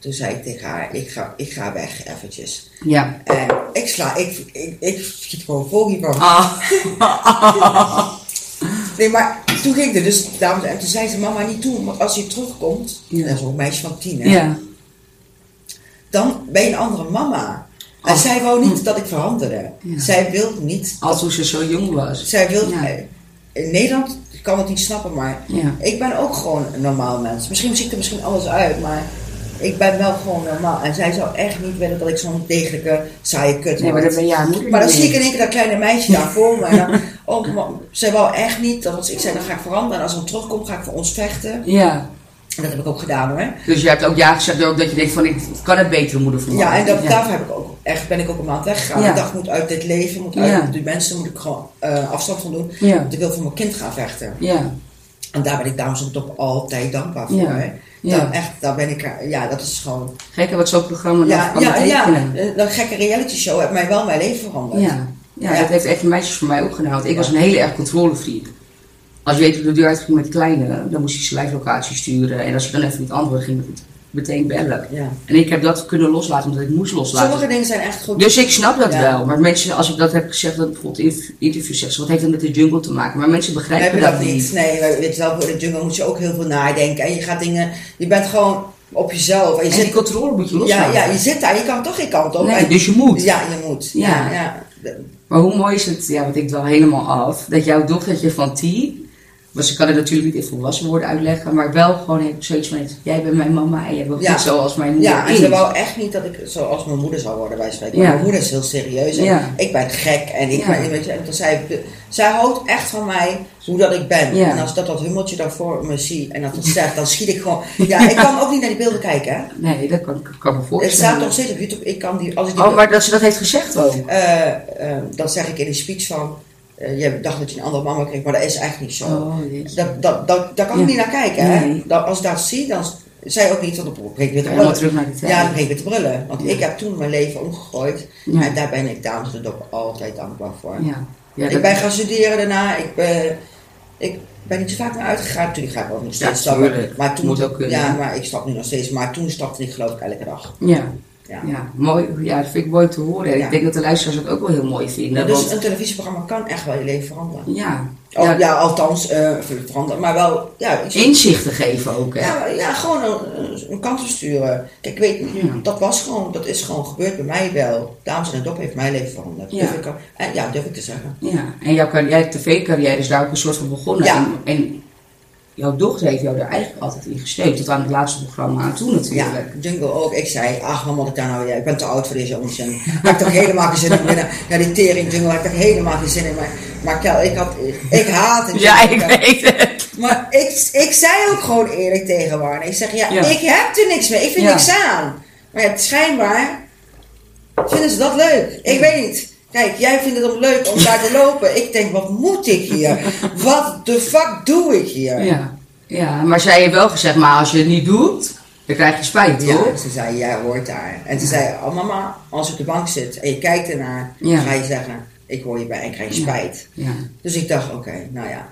[SPEAKER 3] toen zei ik tegen haar, ik ga, ik ga weg eventjes.
[SPEAKER 2] ja.
[SPEAKER 3] En ik sla, ik, ik, ik schiet gewoon vol hiervan.
[SPEAKER 2] Ah.
[SPEAKER 3] Nee, maar toen ging er dus, dames en toen zei ze, mama niet toe, want als je terugkomt,
[SPEAKER 2] Ja.
[SPEAKER 3] dat is ook een meisje van tien, hè,
[SPEAKER 2] ja.
[SPEAKER 3] dan ben je een andere mama. En
[SPEAKER 2] Oh.
[SPEAKER 3] zij wou niet dat ik veranderde.
[SPEAKER 2] Ja.
[SPEAKER 3] Zij wil niet,
[SPEAKER 2] Als toen ze zo jong was.
[SPEAKER 3] zij wil,
[SPEAKER 2] Ja.
[SPEAKER 3] eh, in Nederland kan het niet snappen, maar
[SPEAKER 2] Ja.
[SPEAKER 3] ik ben ook gewoon een normaal mens. Misschien zie ik er misschien alles uit, maar ik ben wel gewoon normaal. En zij zou echt niet willen dat ik zo'n degelijke saaie kut
[SPEAKER 2] Nee, maar
[SPEAKER 3] word.
[SPEAKER 2] dat ben jij moeder.
[SPEAKER 3] Maar dan
[SPEAKER 2] niet.
[SPEAKER 3] zie ik in één keer dat kleine meisje daar voor me. En dan, oh, mam, zij wou echt niet. Dat was, ik zei, dan ga ik veranderen. En als ze dan terugkomt, ga ik voor ons vechten.
[SPEAKER 2] Ja,
[SPEAKER 3] En dat heb ik ook gedaan hoor.
[SPEAKER 2] dus je hebt ook ja gezegd ook dat je denkt van ik kan het betere moeder voor
[SPEAKER 3] Ja, en dat,
[SPEAKER 2] dat
[SPEAKER 3] daarvoor heb ik ook, echt, ben ik ook een maand weggegaan.
[SPEAKER 2] Ja.
[SPEAKER 3] Ik dacht, ik moet uit dit leven, moet
[SPEAKER 2] Ja.
[SPEAKER 3] uit die mensen, moet ik gewoon eh, afstand van doen.
[SPEAKER 2] Ja.
[SPEAKER 3] Want ik wil voor mijn kind gaan vechten.
[SPEAKER 2] Ja,
[SPEAKER 3] En daar ben ik dames en top altijd dankbaar voor.
[SPEAKER 2] Ja.
[SPEAKER 3] Hè.
[SPEAKER 2] Ja.
[SPEAKER 3] Dan echt, daar ben ik, eh, ja, dat is gewoon...
[SPEAKER 2] gekke wat zo'n programma nog
[SPEAKER 3] Ja,
[SPEAKER 2] kan
[SPEAKER 3] ja, ja,
[SPEAKER 2] betekenen.
[SPEAKER 3] eh, dat gekke reality show heeft mij wel mijn leven veranderd.
[SPEAKER 2] Ja. Ja,
[SPEAKER 3] Ja.
[SPEAKER 2] dat heeft echt meisjes voor mij opgehaald. Ik
[SPEAKER 3] Ja.
[SPEAKER 2] was een hele erg controlefreak. Als je weet hoe de deur uitging met kleine, dan moest je ze lijflocatie sturen. En als je dan even niet antwoordde, ging ik meteen bellen.
[SPEAKER 3] Ja.
[SPEAKER 2] En ik heb dat kunnen loslaten, omdat ik moest loslaten.
[SPEAKER 3] Sommige dingen zijn echt goed.
[SPEAKER 2] Dus ik snap dat
[SPEAKER 3] Ja.
[SPEAKER 2] wel. Maar mensen, als ik dat heb gezegd, dat bijvoorbeeld in interviews zeggen ze, wat heeft dat met de jungle te maken? Maar mensen
[SPEAKER 3] We
[SPEAKER 2] begrijpen
[SPEAKER 3] hebben
[SPEAKER 2] dat,
[SPEAKER 3] dat niet.
[SPEAKER 2] niet.
[SPEAKER 3] Nee, we- weet je wel, voor de jungle moet je ook heel veel nadenken. En je gaat dingen, je bent gewoon op jezelf. En je
[SPEAKER 2] En Dus die
[SPEAKER 3] zit,
[SPEAKER 2] controle moet je
[SPEAKER 3] ja,
[SPEAKER 2] loslaten.
[SPEAKER 3] ja, je zit daar, je kan toch geen kant op.
[SPEAKER 2] Nee,
[SPEAKER 3] En-
[SPEAKER 2] dus je moet.
[SPEAKER 3] Ja, je moet.
[SPEAKER 2] Ja.
[SPEAKER 3] Ja, ja. De-
[SPEAKER 2] Maar hoe mooi is het, ja, want ik dwaal helemaal af, dat jouw dochtertje van tien, maar ze kan het natuurlijk niet in volwassen woorden uitleggen, maar wel gewoon heeft zoiets van, jij bent mijn mama en jij bent
[SPEAKER 3] Ja.
[SPEAKER 2] niet zoals mijn moeder
[SPEAKER 3] ja, en
[SPEAKER 2] is.
[SPEAKER 3] ze wou echt niet dat ik zoals mijn moeder zou worden bij spreken.
[SPEAKER 2] Ja.
[SPEAKER 3] Mijn moeder is heel serieus en
[SPEAKER 2] Ja.
[SPEAKER 3] ik ben gek. En ik
[SPEAKER 2] Ja.
[SPEAKER 3] ben, weet je, en toen zei, ik, zij houdt echt van mij hoe dat ik ben.
[SPEAKER 2] Ja.
[SPEAKER 3] En als ik dat, dat hummeltje daarvoor me zie en dat het zegt, dan schiet ik gewoon... Ja, ik kan ook niet naar die beelden kijken, hè.
[SPEAKER 2] Nee, dat kan, kan me
[SPEAKER 3] Het staat
[SPEAKER 2] voorstellen.
[SPEAKER 3] nog steeds op YouTube. Ik kan die, als ik die
[SPEAKER 2] Oh, maar dat ze dat heeft gezegd ook.
[SPEAKER 3] Eh, eh, dat zeg ik in een speech van. eh, je dacht dat je een andere mama kreeg, maar dat is echt niet zo.
[SPEAKER 2] Oh, jeetje.
[SPEAKER 3] dat, dat, dat, daar kan
[SPEAKER 2] Ja.
[SPEAKER 3] ik niet naar kijken. Hè?
[SPEAKER 2] Nee.
[SPEAKER 3] Dat, als ik dat zie, dan s- zij ook niet, want dan breek ik weer te
[SPEAKER 2] Helemaal
[SPEAKER 3] brullen.
[SPEAKER 2] terug naar die tijd.
[SPEAKER 3] Ja, dan breek ik weer te brullen. Want ik heb toen mijn leven omgegooid.
[SPEAKER 2] Ja.
[SPEAKER 3] En daar ben ik dames en heren altijd dankbaar voor.
[SPEAKER 2] Ja. Ja,
[SPEAKER 3] ik
[SPEAKER 2] dat-
[SPEAKER 3] ben gaan studeren daarna. Ik ben, ik ben niet zo vaak meer uitgegaan. Natuurlijk ga ik ook nog
[SPEAKER 2] Ja,
[SPEAKER 3] steeds stappen.
[SPEAKER 2] tuurlijk.
[SPEAKER 3] Maar toen,
[SPEAKER 2] Moet ook kunnen.
[SPEAKER 3] ja, maar ik stap nu nog steeds. Maar toen stapte ik geloof ik elke dag.
[SPEAKER 2] ja.
[SPEAKER 3] Ja.
[SPEAKER 2] Ja, mooi. Ja, dat vind ik mooi te horen. En
[SPEAKER 3] Ja.
[SPEAKER 2] Ik denk dat de luisteraars het ook wel heel mooi vinden.
[SPEAKER 3] dus
[SPEAKER 2] want-
[SPEAKER 3] een televisieprogramma kan echt wel je leven veranderen.
[SPEAKER 2] ja.
[SPEAKER 3] Al-
[SPEAKER 2] Ja,
[SPEAKER 3] Oh, ja. althans, eh, veranderen, maar wel, ja, iets-
[SPEAKER 2] Inzichten geven ook, hè?
[SPEAKER 3] ja, ja, gewoon een, een kant op sturen. Kijk, ik weet, nu,
[SPEAKER 2] Ja.
[SPEAKER 3] dat was gewoon, dat is gewoon gebeurd bij mij wel. Dames en dop heeft mijn leven veranderd.
[SPEAKER 2] Ja.
[SPEAKER 3] Durf ik, al- en, ja, durf ik te zeggen.
[SPEAKER 2] Ja, en jouw carri- jij tv-carrière is daar ook een soort van begonnen.
[SPEAKER 3] Ja.
[SPEAKER 2] En, en jouw dochter heeft jou daar eigenlijk altijd in gesteund. Tot aan het laatste programma aan toe
[SPEAKER 3] Ja,
[SPEAKER 2] natuurlijk.
[SPEAKER 3] Jungle ook. Ik zei, ach, wat moet ik daar nou weer? Ik ben te oud voor deze onzin. Heb ik toch helemaal geen zin in. binnen- Ja, die tering Jungle, heb ik toch helemaal geen zin in. Maar, maar Kel, ik had, ik haat het. Jungle.
[SPEAKER 2] weet het.
[SPEAKER 3] Maar ik, ik zei ook gewoon eerlijk tegen Warner. Ik zeg, ja,
[SPEAKER 2] Ja.
[SPEAKER 3] ik heb er niks mee. Ik vind
[SPEAKER 2] Ja.
[SPEAKER 3] niks aan. Maar ja, schijnbaar vinden ze dat leuk. Ik weet niet. Kijk, jij vindt het om leuk om daar te lopen. Ik denk, wat moet ik hier? Wat de fuck doe ik hier?
[SPEAKER 2] Ja. ja, maar zij heeft wel gezegd, maar als je het niet doet, dan krijg je spijt,
[SPEAKER 3] Ja,
[SPEAKER 2] hoor.
[SPEAKER 3] ze zei, jij hoort daar. En ze zei, oh mama, als je op de bank zit en je kijkt ernaar,
[SPEAKER 2] Ja.
[SPEAKER 3] ga je zeggen, ik hoor je bij en krijg je spijt.
[SPEAKER 2] Ja.
[SPEAKER 3] Dus ik dacht, oké, nou ja,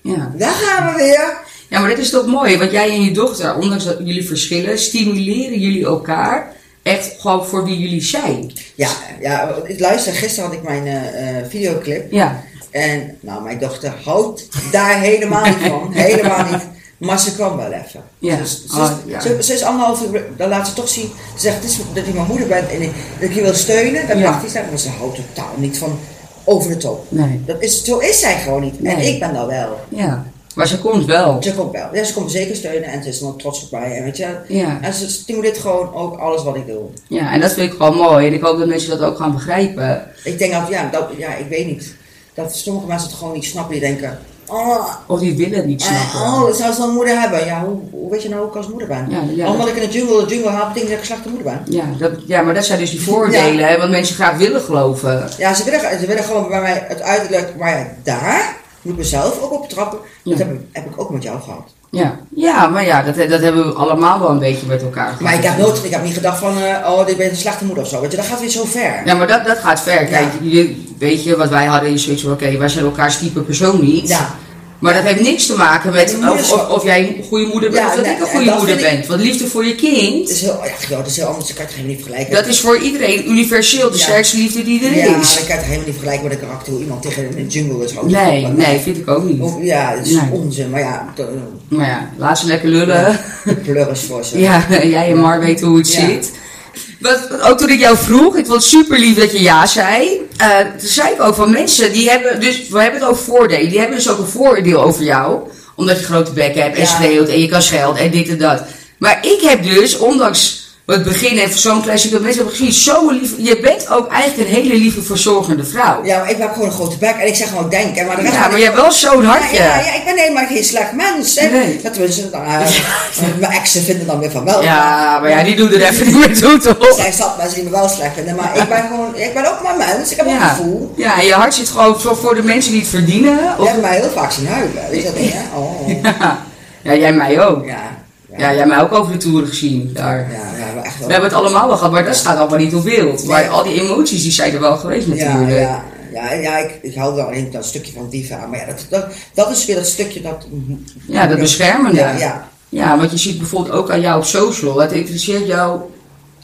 [SPEAKER 2] Ja.
[SPEAKER 3] daar gaan we weer.
[SPEAKER 2] ja, maar dit is toch mooi. Want jij en je dochter, ondanks dat jullie verschillen, stimuleren jullie elkaar echt gewoon voor wie jullie zijn.
[SPEAKER 3] Ja, ja, ik luister, gisteren had ik mijn eh, eh, videoclip.
[SPEAKER 2] Ja.
[SPEAKER 3] En nou, mijn dochter houdt daar helemaal niet van. Helemaal niet. Maar ze kwam wel even.
[SPEAKER 2] Ja.
[SPEAKER 3] Dus, ze,
[SPEAKER 2] Ah,
[SPEAKER 3] is,
[SPEAKER 2] ja.
[SPEAKER 3] ze, ze is anderhalf uur, dan laat ze toch zien. Ze zegt, dit is, dat ik mijn moeder ben en ik- dat ik je wil steunen. Dan
[SPEAKER 2] Ja.
[SPEAKER 3] mag die zeggen, maar ze houdt totaal niet van over de top.
[SPEAKER 2] Nee.
[SPEAKER 3] Dat is, zo is zij gewoon niet. En
[SPEAKER 2] Nee.
[SPEAKER 3] ik ben dat wel.
[SPEAKER 2] Ja. Maar ze komt wel.
[SPEAKER 3] Ze komt wel. Ja, ze komt me zeker steunen en ze is dan trots op mij. En, weet je, wel.
[SPEAKER 2] Ja.
[SPEAKER 3] en ze stimuleert gewoon ook alles wat ik doe.
[SPEAKER 2] Ja, en dat vind ik gewoon mooi. En ik hoop dat mensen dat ook gaan begrijpen.
[SPEAKER 3] Ik denk dat, ja, dat, ja, ik weet niet. Dat sommige mensen het gewoon niet snappen. Die denken, oh,
[SPEAKER 2] Of die willen het niet
[SPEAKER 3] eh,
[SPEAKER 2] snappen.
[SPEAKER 3] oh dat zou zo'n moeder hebben. Ja, hoe, hoe weet je nou hoe ik als moeder ben?
[SPEAKER 2] Ja, ja.
[SPEAKER 3] Omdat ik in de jungle, de jungle haal, betekent dat ik een slechte moeder ben.
[SPEAKER 2] Ja, dat, ja, maar dat zijn dus die voordelen,
[SPEAKER 3] Ja.
[SPEAKER 2] hè, wat mensen graag willen geloven.
[SPEAKER 3] Ja, ze willen, ze willen gewoon bij mij het uiterlijk. Maar ja, daar moet ik mezelf ook op trappen. Dat
[SPEAKER 2] Ja.
[SPEAKER 3] heb, ik- heb ik ook met jou gehad.
[SPEAKER 2] Ja, ja maar ja, dat, dat hebben we allemaal wel een beetje met elkaar gehad.
[SPEAKER 3] Maar ik heb, nooit, ik heb niet gedacht van, eh, oh, dit ben je een slechte moeder of zo. Weet je, dat gaat weer zo ver.
[SPEAKER 2] Ja, maar dat, dat gaat ver. Kijk,
[SPEAKER 3] Ja.
[SPEAKER 2] je, weet je, wat wij hadden is zoiets van, oké, wij zijn elkaars type persoon niet.
[SPEAKER 3] Ja.
[SPEAKER 2] Maar dat heeft niks te maken met
[SPEAKER 3] De
[SPEAKER 2] of,
[SPEAKER 3] moederschap.
[SPEAKER 2] of, of jij een goede moeder bent
[SPEAKER 3] Ja,
[SPEAKER 2] of dat
[SPEAKER 3] nee,
[SPEAKER 2] ik een
[SPEAKER 3] en
[SPEAKER 2] goede
[SPEAKER 3] dat
[SPEAKER 2] moeder
[SPEAKER 3] vind ik-
[SPEAKER 2] ben. Want liefde voor je kind,
[SPEAKER 3] Het is heel, ja, joh, dat is heel anders. Dat kan je het helemaal niet vergelijken.
[SPEAKER 2] dat is voor iedereen universeel de
[SPEAKER 3] Ja.
[SPEAKER 2] sterkste liefde die er
[SPEAKER 3] ja, dat
[SPEAKER 2] is.
[SPEAKER 3] kan je het helemaal niet vergelijken met de karakter hoe iemand tegen een- een jungle is. Oh, houdt.
[SPEAKER 2] Nee,
[SPEAKER 3] Maar-
[SPEAKER 2] nee, vind ik ook niet.
[SPEAKER 3] Hoe- Ja, het is
[SPEAKER 2] Nee.
[SPEAKER 3] onzin. Maar ja, de,
[SPEAKER 2] Maar ja, laat ze lekker lullen.
[SPEAKER 3] de kleur is voor ze.
[SPEAKER 2] Ja, jij en Mar weten hoe het
[SPEAKER 3] Ja.
[SPEAKER 2] zit. Wat, wat ook toen ik jou vroeg, ik vond het super lief dat je ja zei. Eh, toen zei ik ook van mensen, die hebben dus, we hebben het over voordelen, die hebben dus ook een vooroordeel over jou. Omdat je grote bek hebt en
[SPEAKER 3] Ja.
[SPEAKER 2] schreeuwt en je kan schelden en dit en dat. Maar ik heb dus, ondanks het begin en zo'n klein stukje dat mensen hebben gezien, zo'n lief, je bent ook eigenlijk een hele lieve verzorgende vrouw. Ja,
[SPEAKER 3] Ja, maar ik heb gewoon een grote bek en ik zeg gewoon denk. hè, Maar de rest
[SPEAKER 2] maar je hebt wel zo'n
[SPEAKER 3] Ja,
[SPEAKER 2] hartje.
[SPEAKER 3] ja, ja, ik ben helemaal geen slecht mens. Hè.
[SPEAKER 2] Nee.
[SPEAKER 3] Dat tenminste, nou, eh, mijn exen vinden dan weer van wel.
[SPEAKER 2] Ja, maar ja, die doen er even niet meer toe, toch?
[SPEAKER 3] Zij zat mensen die me wel slecht vinden, maar ik ben gewoon, ik ben ook maar mens. Ik heb ook een
[SPEAKER 2] Ja.
[SPEAKER 3] gevoel.
[SPEAKER 2] ja, en je hart zit gewoon voor, voor de mensen die het verdienen.
[SPEAKER 3] Je
[SPEAKER 2] Of,
[SPEAKER 3] hebt mij heel vaak zien huilen. Weet je dat niet, hè? Oh.
[SPEAKER 2] ja. jij mij ook. Ja.
[SPEAKER 3] Ja. Ja.
[SPEAKER 2] jij jij mij ook over de toeren gezien. Daar.
[SPEAKER 3] Ja, ja, maar echt wel.
[SPEAKER 2] We hebben het allemaal wel gehad, maar dat staat allemaal niet op beeld. Maar al die emoties die zijn er wel geweest
[SPEAKER 3] Ja,
[SPEAKER 2] natuurlijk.
[SPEAKER 3] ja, ja, ja ik, ik hou wel alleen dat stukje van diva. Maar ja, dat, dat, dat is weer dat stukje dat...
[SPEAKER 2] Ja, dat beschermende.
[SPEAKER 3] Ja, ja.
[SPEAKER 2] Ja, want je ziet bijvoorbeeld ook aan jou op social. Het interesseert jou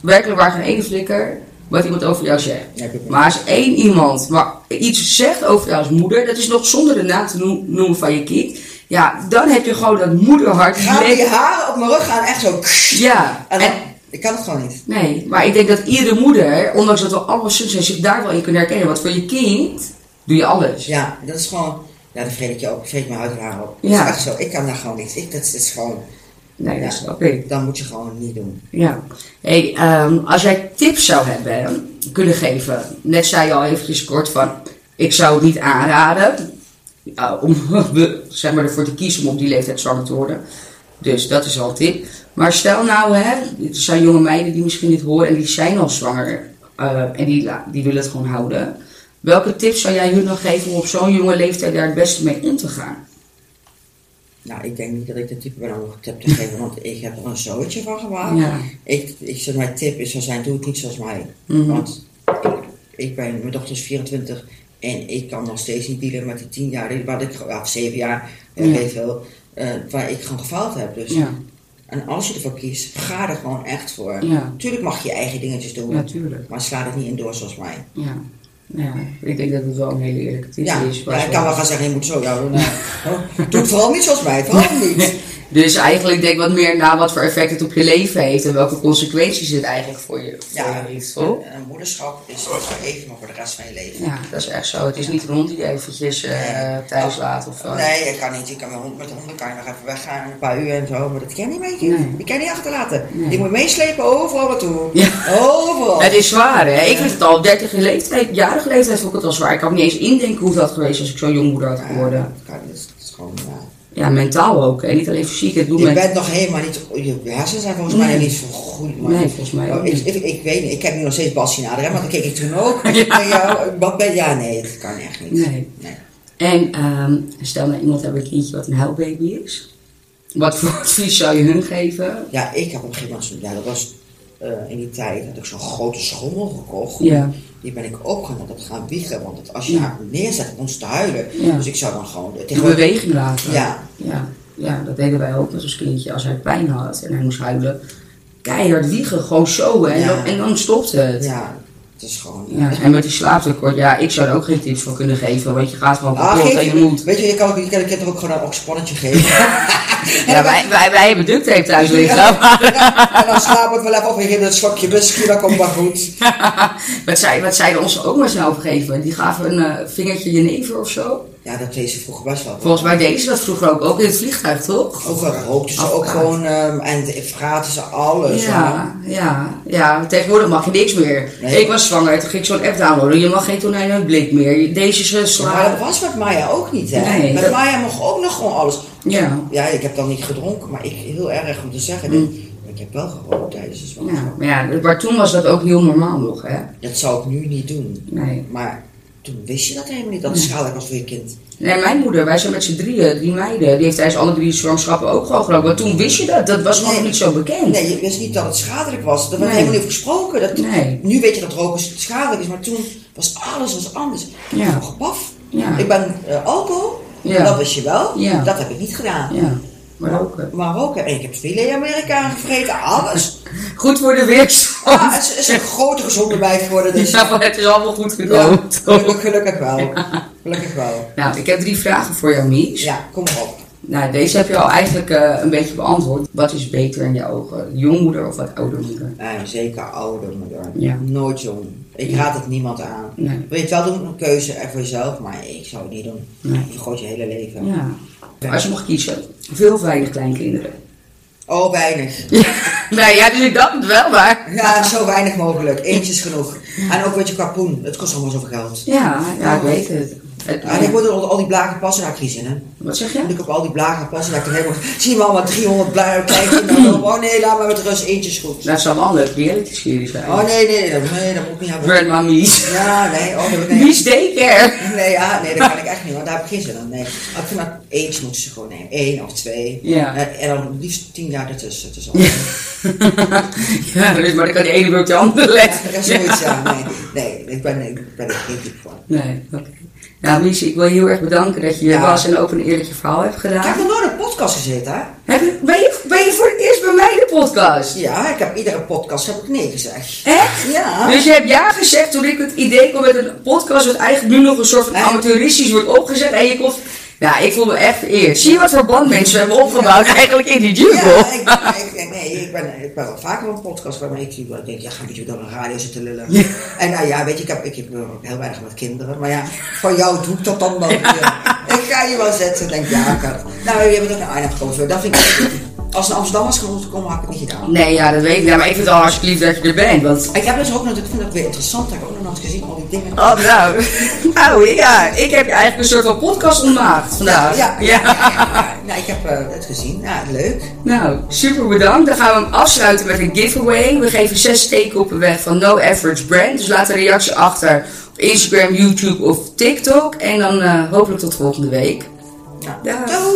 [SPEAKER 2] werkelijk waar geen ene flikker wat iemand over jou zegt.
[SPEAKER 3] Ja, ik ook wel.
[SPEAKER 2] maar als één iemand maar iets zegt over jou als moeder, dat is nog zonder de naam te noem- noemen van je kind. Ja, dan heb je gewoon dat moederhart.
[SPEAKER 3] Gaan
[SPEAKER 2] lekker-
[SPEAKER 3] die haren op mijn rug gaan echt zo...
[SPEAKER 2] Ja,
[SPEAKER 3] En
[SPEAKER 2] en,
[SPEAKER 3] dan, ik kan het gewoon niet.
[SPEAKER 2] nee, maar ik denk dat iedere moeder, ondanks dat we allemaal zus zijn, zich daar wel in kunnen herkennen. Want voor je kind doe je alles.
[SPEAKER 3] Ja, dat is gewoon... Ja, dan vreet ik je ook. Vreet mijn huid en haar op.
[SPEAKER 2] Ja.
[SPEAKER 3] Dat is echt zo. Ik kan daar gewoon niet. Ik, dat, is- dat is gewoon...
[SPEAKER 2] Nee,
[SPEAKER 3] Ja.
[SPEAKER 2] dat snap ik.
[SPEAKER 3] Dan moet je gewoon niet doen.
[SPEAKER 2] Ja. Hey, ehm, als jij tips zou hebben kunnen geven, net zei je al eventjes kort van, ik zou het niet aanraden eh, om be- zeg maar, ervoor te kiezen om op die leeftijd zwanger te worden. Dus dat is al een tip. Maar stel nou, hè, er zijn jonge meiden die misschien dit horen en die zijn al zwanger eh, en die, la- die willen het gewoon houden. Welke tips zou jij hun nog geven om op zo'n jonge leeftijd daar het beste mee om te gaan?
[SPEAKER 3] Nou, ik denk niet dat ik de type ben om een tip te geven, want ik heb er een zootje van gemaakt.
[SPEAKER 2] Ja.
[SPEAKER 3] Ik, ik, zeg, mijn tip is, zou zijn, doe het niet zoals mij.
[SPEAKER 2] Mhm.
[SPEAKER 3] Want ik ben, mijn dochter is 24 en ik kan nog steeds niet dealen met die 10 jaar, die- wat ik, of 7 jaar, eh,
[SPEAKER 2] Ja.
[SPEAKER 3] weet veel, eh, waar ik gewoon gefaald heb. Dus.
[SPEAKER 2] Ja.
[SPEAKER 3] En als je ervoor kiest, ga er gewoon echt voor.
[SPEAKER 2] Ja.
[SPEAKER 3] Tuurlijk mag je je eigen dingetjes doen,
[SPEAKER 2] Ja, tuurlijk.
[SPEAKER 3] maar sla het niet in door zoals mij.
[SPEAKER 2] Ja. Ja, ik denk dat het wel een hele eerlijke tip
[SPEAKER 3] Ja,
[SPEAKER 2] is.
[SPEAKER 3] maar ik kan wel gaan zeggen, je moet zo, ja, nou, oh, doe het vooral niet zoals mij, vooral niet.
[SPEAKER 2] Dus eigenlijk denk ik wat meer na wat voor effect het op je leven heeft en welke consequenties het eigenlijk voor je voor
[SPEAKER 3] Ja, Oh.
[SPEAKER 2] je heeft. toch?
[SPEAKER 3] en moederschap is voor even, maar voor de rest van je leven.
[SPEAKER 2] Ja, dat is echt zo. Het is niet rond die je eventjes eh, thuis laat of zo.
[SPEAKER 3] Nee, dat kan niet. Je kan met, hond- met de honden kan je nog even weggaan, een paar uur en zo, maar dat kan je niet mee.
[SPEAKER 2] Nee.
[SPEAKER 3] Je kan je niet achterlaten.
[SPEAKER 2] Nee.
[SPEAKER 3] Je moet meeslepen overal naartoe.
[SPEAKER 2] Ja.
[SPEAKER 3] Overal.
[SPEAKER 2] Het is zwaar, hè? Ik vind het al 30 leeftijd, jarige leeftijd vond ik het al zwaar. Ik kan me niet eens indenken hoe dat had geweest als ik zo jong moeder had geworden.
[SPEAKER 3] Dat kan niet. Dat is gewoon, ja.
[SPEAKER 2] Ja, mentaal ook, hè? Niet alleen fysiek, het doet
[SPEAKER 3] Je
[SPEAKER 2] mij.
[SPEAKER 3] bent nog helemaal niet, je hersenen zijn volgens mij
[SPEAKER 2] Nee.
[SPEAKER 3] niet zo goed. man.
[SPEAKER 2] Nee, volgens mij ook
[SPEAKER 3] ik,
[SPEAKER 2] niet.
[SPEAKER 3] ik, ik weet niet, ik heb nu nog steeds Bas nader, hè, maar dat keek ik toen ook. ja. Ja, wat ben, ja, nee, dat kan echt niet.
[SPEAKER 2] Nee. En ehm, stel nou iemand heeft een kindje wat een huilbaby is. Wat voor advies zou je hun geven?
[SPEAKER 3] Ja, ik heb op een gegeven moment, zo'n- ja, dat was eh, in die tijd, had ik zo'n grote schommel gekocht.
[SPEAKER 2] Ja.
[SPEAKER 3] Die ben ik ook gaan, dat gaan wiegen, want het, als je
[SPEAKER 2] Ja.
[SPEAKER 3] haar neerzet, dan te huilen.
[SPEAKER 2] Ja.
[SPEAKER 3] Dus ik zou dan gewoon
[SPEAKER 2] in
[SPEAKER 3] tegenwoordig...
[SPEAKER 2] beweging laten.
[SPEAKER 3] Ja.
[SPEAKER 2] ja. Ja, dat deden wij ook met ons kindje. Als hij pijn had en hij moest huilen, keihard wiegen, gewoon zo. Hè? En,
[SPEAKER 3] Ja.
[SPEAKER 2] dan, en dan stopt het.
[SPEAKER 3] Ja, Het is gewoon...
[SPEAKER 2] Ja, en met die slaaptekort, ja, ik zou er ook geen tips voor kunnen geven. Want je gaat gewoon
[SPEAKER 3] Ah,
[SPEAKER 2] kapot en
[SPEAKER 3] geef,
[SPEAKER 2] je moet.
[SPEAKER 3] weet je, je kan, ook- je kan de kinderen ook gewoon een oxyponnetje geven.
[SPEAKER 2] Ja, wij, wij, wij hebben duct tape thuis liggen.
[SPEAKER 3] en dan slaap ik wel even op en geef een slokje whisky, dan komt dat goed.
[SPEAKER 2] wat, zij, wat zij ons ook maar zelf geven. Die gaven een eh, vingertje jenever of zo.
[SPEAKER 3] Ja, dat deed ze vroeger best wel.
[SPEAKER 2] Volgens mij deden ze dat vroeger ook, ook in het vliegtuig, toch?
[SPEAKER 3] Ook wel rookten ze ook
[SPEAKER 2] Afgaat.
[SPEAKER 3] gewoon, ehm, en de- vraten ze alles.
[SPEAKER 2] Ja, ja, ja. Tegenwoordig mag je niks meer.
[SPEAKER 3] Nee.
[SPEAKER 2] Ik was zwanger, toen ging ik zo'n app downloaden. Je mag geen tonijn en blik meer. Deze is eh,
[SPEAKER 3] Ja, Maar dat
[SPEAKER 2] sla.
[SPEAKER 3] was met Maya ook niet, hè?
[SPEAKER 2] Nee,
[SPEAKER 3] met
[SPEAKER 2] dat-
[SPEAKER 3] Maya mocht ook nog gewoon alles.
[SPEAKER 2] Ja.
[SPEAKER 3] Ja, ik heb dan niet gedronken, maar ik heel erg om te zeggen. dit. Ik heb wel gerookt tijdens de
[SPEAKER 2] Mm. Ja,
[SPEAKER 3] zwangerschap.
[SPEAKER 2] maar, ja, maar toen was dat ook heel normaal nog, hè?
[SPEAKER 3] Dat zou ik nu niet doen.
[SPEAKER 2] Nee.
[SPEAKER 3] Maar toen wist je dat helemaal niet, dat het schadelijk was voor je kind.
[SPEAKER 2] Nee, mijn moeder, wij zijn met z'n drieën, drie meiden. Die heeft tijdens alle drie zwangerschappen ook gewoon gerookt. Maar toen wist je dat, dat was nog
[SPEAKER 3] Nee.
[SPEAKER 2] niet zo bekend.
[SPEAKER 3] Nee, je wist niet dat het schadelijk was. Daar werd
[SPEAKER 2] Nee.
[SPEAKER 3] helemaal niet over gesproken. Dat,
[SPEAKER 2] Nee.
[SPEAKER 3] Nu weet je dat roken schadelijk is, maar toen was alles was anders.
[SPEAKER 2] Ja.
[SPEAKER 3] Ik paf.
[SPEAKER 2] Ja.
[SPEAKER 3] Ik ben eh, alcohol,
[SPEAKER 2] Ja.
[SPEAKER 3] dat wist je wel.
[SPEAKER 2] Ja.
[SPEAKER 3] Dat heb ik niet gedaan.
[SPEAKER 2] Ja, maar ook. eh,
[SPEAKER 3] Maar roken, en ik heb veel in Amerika aangevreten, alles.
[SPEAKER 2] Goed voor de weerstand.
[SPEAKER 3] Ah, het is- is een grote gezonde wijf geworden, dus
[SPEAKER 2] Ja, maar het is allemaal goed gekomen.
[SPEAKER 3] ja,
[SPEAKER 2] toch?
[SPEAKER 3] gelukkig, gelukkig wel. Gelukkig wel.
[SPEAKER 2] Nou, ik heb drie vragen voor jou, Mies.
[SPEAKER 3] Ja, kom maar op.
[SPEAKER 2] Nou, deze heb je al eigenlijk eh, een beetje beantwoord. Wat is beter in je ogen? Jongmoeder of wat ouder moeder?
[SPEAKER 3] Eh, zeker ouder moeder.
[SPEAKER 2] Ja.
[SPEAKER 3] Nooit jong. Ik raad het niemand aan.
[SPEAKER 2] Nee.
[SPEAKER 3] Weet je wel, doe een keuze er voor jezelf, maar ik zou het niet doen.
[SPEAKER 2] Nee.
[SPEAKER 3] Je gooit je hele leven.
[SPEAKER 2] Ja. Als je mag kiezen, veel of weinig kleinkinderen?
[SPEAKER 3] Oh, weinig.
[SPEAKER 2] nee, ja, dus ik dacht het wel, maar...
[SPEAKER 3] Ja, zo weinig mogelijk. Eentje is genoeg. En ook wat je kapoen. Het kost allemaal zoveel geld.
[SPEAKER 2] Ja, ja, ik weet het. Het-
[SPEAKER 3] En ik word er al al die blagen passen, daar heb ik geen zin in.
[SPEAKER 2] Wat zeg
[SPEAKER 3] En
[SPEAKER 2] je? Nou,
[SPEAKER 3] ik heb al die blagen passen, daar heb ik er helemaal... Zie je wel, maar 300 blagen kijken. Oh nee, laat maar met rust. Eentje is goed.
[SPEAKER 2] Dat zal wel een leuke reality serie zijn.
[SPEAKER 3] Oh nee, nee, nee, nee, dat moet ik niet hebben.
[SPEAKER 2] Grandma Mies.
[SPEAKER 3] Ja, nee, oh nee. nee.
[SPEAKER 2] Mies Daycare.
[SPEAKER 3] Nee, ja, nee, dat kan ik echt niet, want daar heb ik geen zin in. Nee. Als ik maar eentje moeten ze gewoon nemen. Eén of twee. Eh,
[SPEAKER 2] Ja.
[SPEAKER 3] En, en dan liefst tien jaar ertussen. Het is al.
[SPEAKER 2] ja, dus, maar dan kan de ene weer op de andere
[SPEAKER 3] Dat
[SPEAKER 2] leggen.
[SPEAKER 3] is zoiets, ja. Nee, nee ik, ben, ik ben er geen type van.
[SPEAKER 2] Nee, oké. Nou, Mies, ik wil je heel erg bedanken dat je hier
[SPEAKER 3] Ja.
[SPEAKER 2] was en ook een eerlijk je verhaal hebt
[SPEAKER 3] Ik heb
[SPEAKER 2] gedaan.
[SPEAKER 3] nog nooit in een podcast gezeten, hè?
[SPEAKER 2] Heb je, ben, je, ben je voor het eerst bij mij in de podcast?
[SPEAKER 3] Ja, ik heb iedere podcast heb ik nee gezegd.
[SPEAKER 2] Echt?
[SPEAKER 3] Ja.
[SPEAKER 2] Dus je hebt ja gezegd toen ik het idee kwam met een podcast, wat eigenlijk nu nog een soort van
[SPEAKER 3] Nee.
[SPEAKER 2] amateuristisch wordt opgezet. En je komt. Ja, ik voel me echt vereerd. Zie je wat voor band mensen hebben opgebouwd eigenlijk in die jungle?
[SPEAKER 3] Ja, ik, ik, ik- nee, ik ben, ik ben wel vaker op een podcast waarmee ik, ik denk, ja, gaan we door een radio zitten lullen. En nou ja, weet je, ik heb, ik heb ook heel weinig met kinderen, maar ja, van jou doe ik dat dan wel weer. Ik ga je wel zetten, denk ja, ik had- Nou, je hebt ook naar Arnhem gekozen, dat vind ik Als een Amsterdam was gekomen, had ik het niet gedaan.
[SPEAKER 2] Nee, ja, dat weet ik. Ja, maar ik vind het al hartstikke lief dat je er bent. Want.
[SPEAKER 3] Ik heb dus ook nog, ik vind dat weer interessant, dat heb ik ook nog nooit gezien, al die dingen.
[SPEAKER 2] Oh, nou. Nou, ja. Ik heb je eigenlijk een soort van podcast ontmaagd vandaag.
[SPEAKER 3] Ja, ja, ja, ja. Nou, ik heb eh, het gezien, ja, leuk.
[SPEAKER 2] Nou, super bedankt. Dan gaan we hem afsluiten met een giveaway. We geven zes steekkoppen weg van No Average Brand. Dus laat een reactie achter op Instagram, YouTube of TikTok. En dan eh, hopelijk tot volgende week.
[SPEAKER 3] Nou,
[SPEAKER 2] Dag.
[SPEAKER 3] doei! Oh.